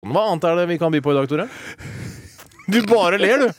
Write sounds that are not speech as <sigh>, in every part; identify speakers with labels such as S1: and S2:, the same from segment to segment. S1: Hva annet er det vi kan by på i dag, Tore? Du bare ler, du!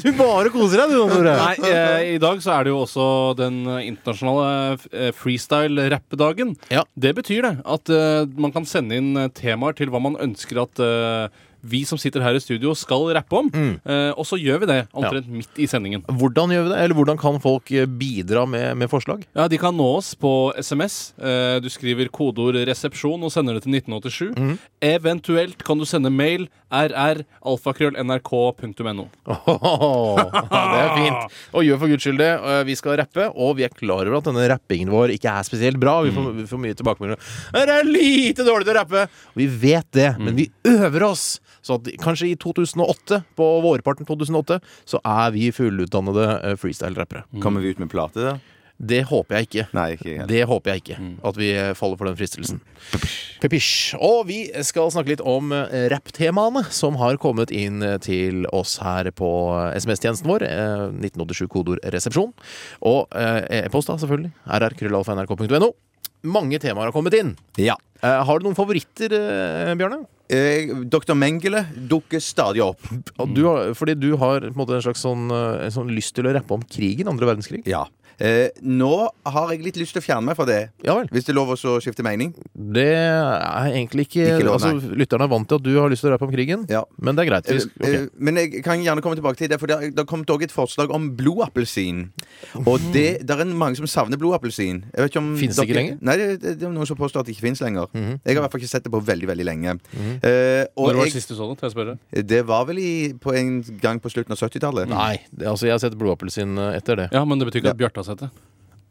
S1: Du bare koser deg, du, Tore.
S2: Nei, eh, i dag så er det jo også den eh, internasjonale eh, freestyle-rappdagen.
S1: Ja.
S2: Det betyr det at eh, man kan sende inn eh, temaer til hva man ønsker at eh, vi som sitter her i studio, skal rappe om.
S3: Mm.
S2: Eh, og så gjør vi det omtrent midt i sendingen.
S1: Hvordan gjør vi det? Eller hvordan kan folk eh, bidra med, med <laughs> forslag?
S2: Ja, De kan nå oss på SMS. Eh, Du skriver kodeord 'resepsjon' og sender det til 1987.
S3: Mm.
S2: Eventuelt kan du sende mail rr.alfakrøll.nrk.no.
S1: det er fint. Og gjør for guds skyld det. Eh, Vi skal rappe, og vi er klar over at denne rappingen vår ikke er spesielt bra. Vi får, vi får mye tilbakemeldinger. Dere er lite dårlig til å rappe! Vi vet det, men vi øver oss. Så at kanskje i 2008, på vårparten 2008, så er vi fullutdannede eh, freestyle-rappere.
S3: Kommer vi ut med plate, da?
S1: Det håper jeg ikke.
S3: Nei, ikke helt.
S1: Det håper jeg ikke. At vi eh, faller for den fristelsen. Pepish. Og vi skal snakke litt om eh, rapptemaene som har kommet inn eh, til oss her på SMS-tjenesten vår. eh, 1987 kodeord 'resepsjon'. Og eh, e-post, da, selvfølgelig. rrkrøllalfa.nrk.no. Mange temaer har kommet inn.
S3: Ja.
S1: Eh, Har du noen favoritter, eh, Bjarne?
S3: Eh, Dr. Mengele dukker stadig opp.
S1: Og Du har, fordi du har på en, måte, en slags sånn, eh, en sånn lyst til å rappe om krigen, andre verdenskrig.
S3: Ja. Eh, nå har jeg litt lyst til å fjerne meg fra det.
S1: Ja vel.
S3: Hvis det er lov å så skifte mening?
S1: Det er egentlig ikke,
S3: Ikke lov,
S1: altså, Lytterne er vant til at du har lyst til å rappe om krigen,
S3: Ja.
S1: men det er greit. Vi,
S3: Eh,
S1: ok.
S3: eh, Men jeg kan gjerne komme tilbake til det, for det har- det har kommet også et forslag om blodappelsin. Og det der er mange som savner blodappelsin. Jeg vet ikke om
S1: Finnes det ikke
S3: dere-
S1: lenger?
S3: Nei, det, det, det er noen som påstår at det ikke finnes lenger. Jeg har i hvert fall ikke sett det på veldig, veldig lenge. Eh, og
S2: Når var det
S3: jeg,
S2: sist du så det? Tør jeg spørre?
S3: det var vel i, på en gang på slutten av 70-tallet.
S1: Nei, det, altså jeg har sett blodappelsin eh, etter det.
S2: Ja, men det betyr ikke at Bjarte har sett det.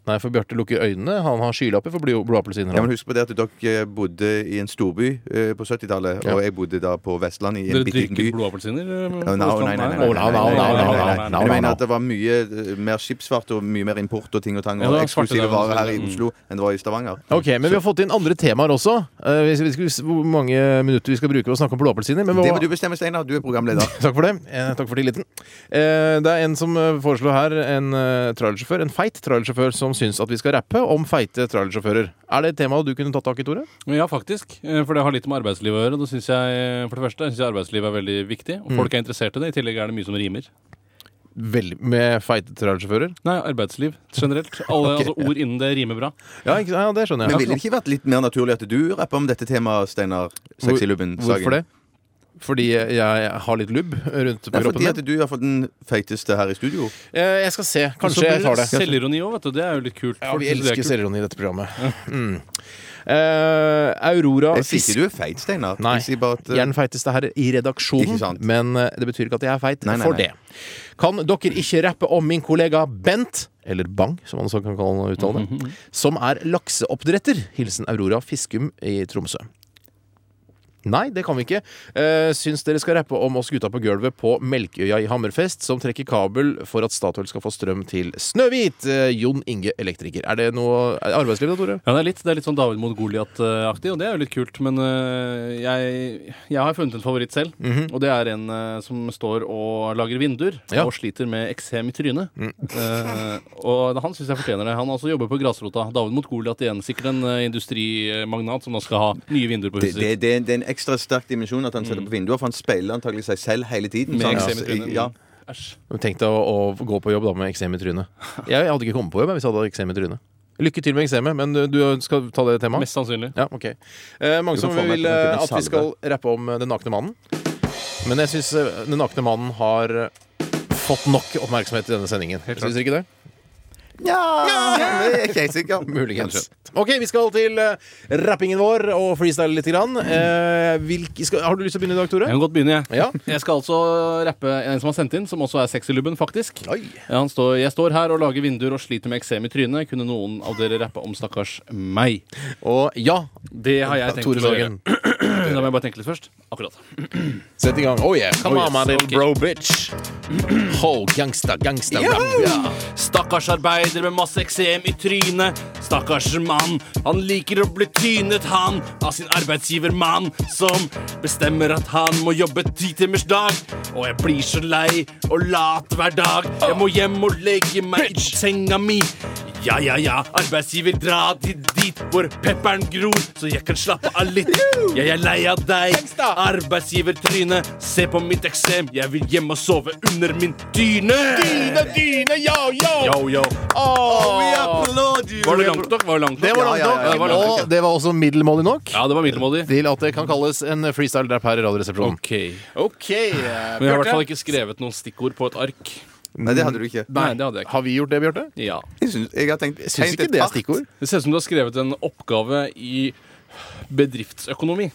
S1: Nei, for Bjarte lukker øynene. Han har skylapper for blod- blodappelsiner.
S3: Ja, men
S1: han.
S3: husk på det at dere eh, bodde i en storby eh, på 70-tallet,
S1: Ja.
S3: og jeg bodde da på Vestlandet i en
S2: Dere
S3: bitte liten
S2: drikker
S3: by.
S2: blodappelsiner?
S3: Nei, nei, nei, nei, nei, nei, nei, nei, nei, nei, nei. Jeg mener at det var mye eh, mer skipsfart og mye mer import og ting og tang
S2: Ja, det
S3: og
S2: var svarte
S3: eksklusive
S2: dager,
S3: varer her i
S2: mm.
S3: Oslo enn det var i Stavanger.
S1: Ok, men Vi har fått inn andre temaer også. Eh, vi skal- vi skal vise hvor mange minutter vi skal bruke på å snakke om blodappelsiner. Men
S3: Det må
S1: hva,
S3: du bestemme, Steinar. Du er programleder.
S1: takk for det. Eh, takk for tilliten. Eh, det er en som eh, foreslår her en eh, trailersjåfør, en feit trailersjåfør som syns at vi skal rappe om feite trailersjåfører. Er det et tema du kunne tatt tak i, Tore?
S2: Ja, faktisk. eh, For det har litt med arbeidslivet å gjøre. Da synes jeg, eh, for det første synes jeg arbeidslivet er veldig viktig,
S3: Mm.
S2: og folk er interessert i det. I tillegg er det mye som rimer.
S1: Veldig, med feite trailersjåfører?
S2: Nei, arbeidsliv
S3: <laughs>
S2: generelt. Alle
S1: Ok,
S2: altså, ord innen det rimer bra.
S1: Ja, ikke, ja, det skjønner
S3: Men
S1: jeg.
S3: ville det ikke vært litt mer naturlig at du rapper om dette temaet, Steinar Sexylubben?
S1: Hvorfor det? Fordi jeg har litt lubb rundt på
S3: Nei,
S1: kroppen.
S3: fordi
S1: min.
S3: at du er for den feiteste her i studio.
S1: Eh, Jeg skal se. Kanskje jeg tar det.
S2: Selvironi òg, vet du. Det er jo litt kult.
S1: Ja,
S2: Folk
S1: vi
S2: synes det er
S1: elsker
S2: kult.
S1: selvironi i dette programmet. Mm. Eh, Aurora
S3: Jeg sier
S1: Fisk...
S3: ikke du er feit, Steinar.
S1: Nei.
S3: Jeg sier bare at
S1: Jeg er den
S3: eh,
S1: feiteste her i redaksjonen,
S3: Ikke sant.
S1: men eh, det betyr ikke at jeg er feit
S3: Nei, nei,
S1: for
S3: nei.
S1: det. Kan dere ikke rappe om min kollega Bent, eller Bang, som han også kan kalle han uttale, som er lakseoppdretter? Hilsen Aurora Fiskum i Tromsø. Nei, det kan vi ikke. Eh, syns dere skal rappe om oss gutta på gulvet på Melkøya i Hammerfest, som trekker kabel for at Statoil skal få strøm til Snøhvit. Eh, Jon Inge Elektriker. Er det noe er det arbeidsliv da, Tore?
S2: Ja, det er, litt, det er litt sånn David mot Goliat-aktig, og det er jo litt kult. Men eh, jeg, jeg har funnet en favoritt selv, og det er en eh, som står og lager vinduer
S1: Ja.
S2: og sliter med eksem i trynet. Eh, og han syns jeg fortjener det. Han altså jobber på grasrota. David mot Goliat igjen. Sikkert en eh, industrimagnat som da skal ha nye vinduer på
S3: det,
S2: huset
S3: det,
S2: sitt.
S3: det, det er en ekstra sterk dimensjon at han setter på vinduer, for han speiler antakelig seg selv hele tiden.
S2: Med
S3: så han-
S2: eksem i trynet.
S3: Ja.
S2: Æsj.
S1: Tenk deg å, å gå på jobb da med eksem i trynet. Jeg, jeg hadde ikke kommet på jobb jeg, hvis jeg hadde eksem i trynet. Lykke til med eksemet, men du, du skal ta det temaet?
S2: Mest sannsynlig.
S1: Ja, ok. Eh, mange
S3: Du
S1: som
S3: kan få meg
S1: vil
S3: til å kunne
S1: eh, at vi skal rappe om eh, Den nakne mannen. Men jeg syns eh, Den nakne mannen har eh, fått nok oppmerksomhet i denne sendingen. Syns dere ikke det?
S3: Ja! Det er ikke helt <laughs> sikker.
S1: Muligens. Ok, vi skal til eh, rappingen vår og freestyle lite grann. Eh, hvilke, skal, har du lyst til å begynne i dag,
S2: Jeg
S1: Tore?
S2: kan godt begynne, jeg.
S1: Ja.
S2: Jeg skal altså rappe en som har sendt inn, som også er sexylubben, faktisk.
S1: Oi.
S2: Ja, Han står, jeg står her og lager vinduer og sliter med eksem i trynet. Kunne noen av dere rappe om stakkars meg?
S1: Og ja,
S2: Det har jeg tenkt
S1: Tore
S2: å gjøre. Mm,
S1: Sagen.
S2: Da må jeg bare tenke litt først. Akkurat.
S1: Sett i gang. Oh yeah. Come
S2: Oh,
S1: on, my
S2: yes.
S1: little
S2: Ok.
S1: bro bitch. <clears throat> Ho, gangsta, gangsta, gangsta.
S2: Stakkars arbeider med masse eksem i trynet. Stakkars mann. Han liker å bli tynet, han, av sin arbeidsgiver mann, som bestemmer at han må jobbe ti timers dag. Og jeg blir så lei og lat hver dag. Jeg må hjem og legge meg i senga mi. Ja, ja, ja, arbeidsgiver, dra dit, dit hvor pepperen gror, så jeg kan slappe av litt. Jeg er lei av deg,
S1: da.
S2: arbeidsgivertryne. Se på mitt eksem, jeg vil hjem og sove under min dyne.
S1: Dyne, dyne, yo, yo!
S2: Yo, yo.
S1: Åh.
S2: Var det langt nok?
S1: Altså, Det
S2: Var det langt nok?
S1: var langt
S3: Ja, ja, ja, det
S1: nok,
S3: var
S2: langt nok,
S1: og det var også middelmådig nok
S2: Ja, det var middelmådig.
S1: til at det kan kalles en freestyle-rapp her i Radioresepsjonen.
S2: OK.
S1: Ok, eh,
S2: Men jeg har i hvert fall ikke skrevet noen stikkord på et ark.
S3: Nei, det hadde du ikke.
S2: Nei, det hadde jeg ikke.
S1: Har vi gjort det, Bjarte?
S2: Ja.
S3: Jeg syns, jeg har tenkt,
S1: Jeg syns
S3: tenkt
S1: ikke
S3: et
S1: det er
S3: fart,
S1: stikkord.
S2: Det ser ut som du har skrevet en oppgave i bedriftsøkonomi.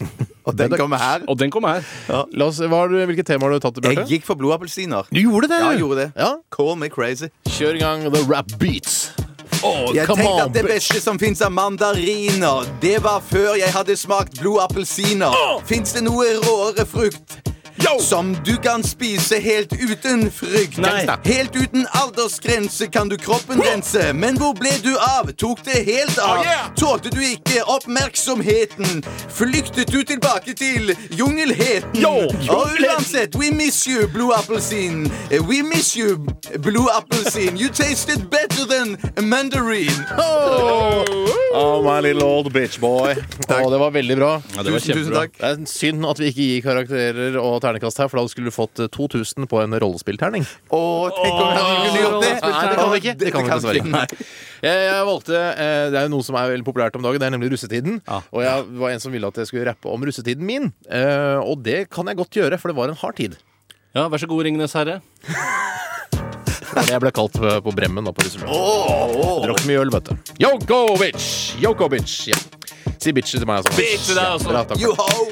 S3: Og den kommer her.
S2: Og den kommer her.
S1: La oss, hva har du, hvilke temaer har du tatt,
S3: Jeg
S1: Bjarte?
S3: gikk for blodappelsiner.
S1: Du gjorde det?
S3: Ja, jeg
S1: du.
S3: gjorde det.
S1: Ja.
S3: Call me crazy.
S1: Kjør i gang the rap beats. Oh,
S3: Jeg
S1: come
S3: tenkte
S1: on,
S3: at det
S1: bitch.
S3: beste som fins av mandariner, det var før jeg hadde smakt blodappelsiner. Fins det noe råere frukt? Som du kan spise helt uten frykt.
S2: Nei.
S3: Helt uten aldersgrense kan du kroppen rense. Men hvor ble du av? Tok det helt av?
S2: Oh, yeah.
S3: Tålte du ikke oppmerksomheten? Flyktet du tilbake til jungelheten?
S2: Yo,
S3: Og uansett, we miss you, Blue Appelsin. We miss you, Blue Appelsin. You tasted better than a mandarin.
S1: Oh, oh, my little old bitch boy. Å, det var veldig bra.
S2: Ja,
S3: Tusen, tusen takk.
S1: Det er synd at vi ikke gir karakterer og ternekast her, for da skulle du fått eh, 2000 på en rollespillterning.
S3: Å, tenk om jeg kunne gjort det!
S1: Nei, det kan vi ikke. Det kan vi dessverre ikke.
S3: Nei.
S1: Jeg, jeg valgte, eh, Det er jo noe som er veldig populært om dagen, det er nemlig russetiden.
S2: Ja.
S1: Og jeg det var en som ville at jeg skulle rappe om russetiden min. Eh, og det kan jeg godt gjøre, for det var en hard tid.
S2: Ja, vær så god, Ringenes herre.
S1: Det var det jeg ble kalt eh, på Bremmen. da på russeblad.
S3: Åh,
S1: Drakk mye øl, vet du. Yoko bitch! Yoko bitch! Ja. Si bitch til meg, altså.
S2: Bitch til deg
S1: Ja,
S2: også.
S1: bra, takk.
S3: You ho!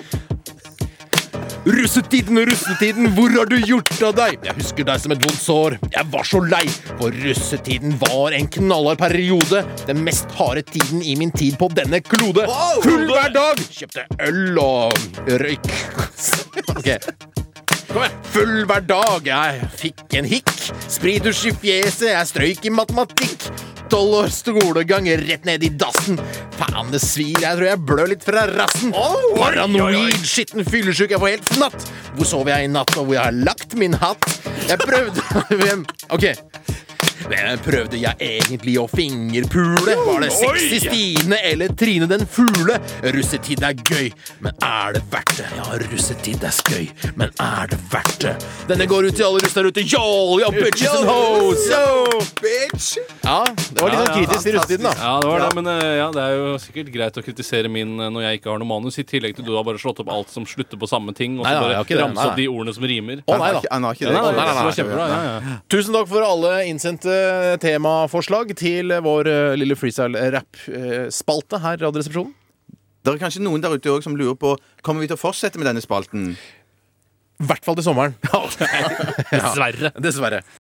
S1: Russetiden, russetiden, hvor har du gjort av deg? Jeg husker deg som et vondt sår. Jeg var så lei, for russetiden var en knallhard periode. Den mest harde tiden i min tid på denne klode.
S3: Wow!
S1: Full hver dag! Kjøpte øl og røyk. <laughs> Ok. Kom igjen. Full hver dag, jeg fikk en hikk. Spridusj i fjeset, jeg strøyk i matematikk. Tolv års skolegang rett ned i dassen. Faen, det svir, jeg tror jeg blør litt fra rassen. Paranoid, skitten fyllesyk, jeg får helt fnatt. Hvor sov jeg i natt, og hvor jeg har lagt min hatt? Jeg prøvde <laughs> Hvem? OK. Hvem prøvde jeg egentlig å fingerpule? Var det sexy Stine eller Trine den fugle? Russetid er gøy, men er det verdt det? Ja, russetid er skøy, men er det verdt det? Denne går ut til alle russ der ute. Yo, yo, bitches and hoes! Yo!
S3: Bitch!
S1: Ja, det var litt sånn
S2: Ja, ja,
S1: kritisk til russetiden, da.
S2: Ja, det var det, men eh, ja, det er jo sikkert greit å kritisere min eh, når jeg ikke har noe manus, i tillegg til du har bare slått opp alt som slutter på samme ting, og
S1: Nei,
S2: så
S1: nei, jeg har ikke det.
S2: bare ramse
S1: Nei, nei.
S2: opp de ordene som rimer.
S1: Å,
S3: Han
S1: nei
S3: har
S1: da.
S3: ikke- Han har ikke
S2: Ja,
S3: det.
S2: nei, nei,
S1: nei, nei,
S2: det var
S1: nei.
S2: kjempebra. Ja, ja.
S1: Tusen takk for alle innsendte temaforslag til vår eh, lille freestyle-rapp-spalte her i Radioresepsjonen.
S3: Det er kanskje noen der ute også som lurer på Kommer vi til å fortsette med denne spalten.
S1: <laughs> I hvert fall til sommeren.
S2: Dessverre.
S1: Dessverre.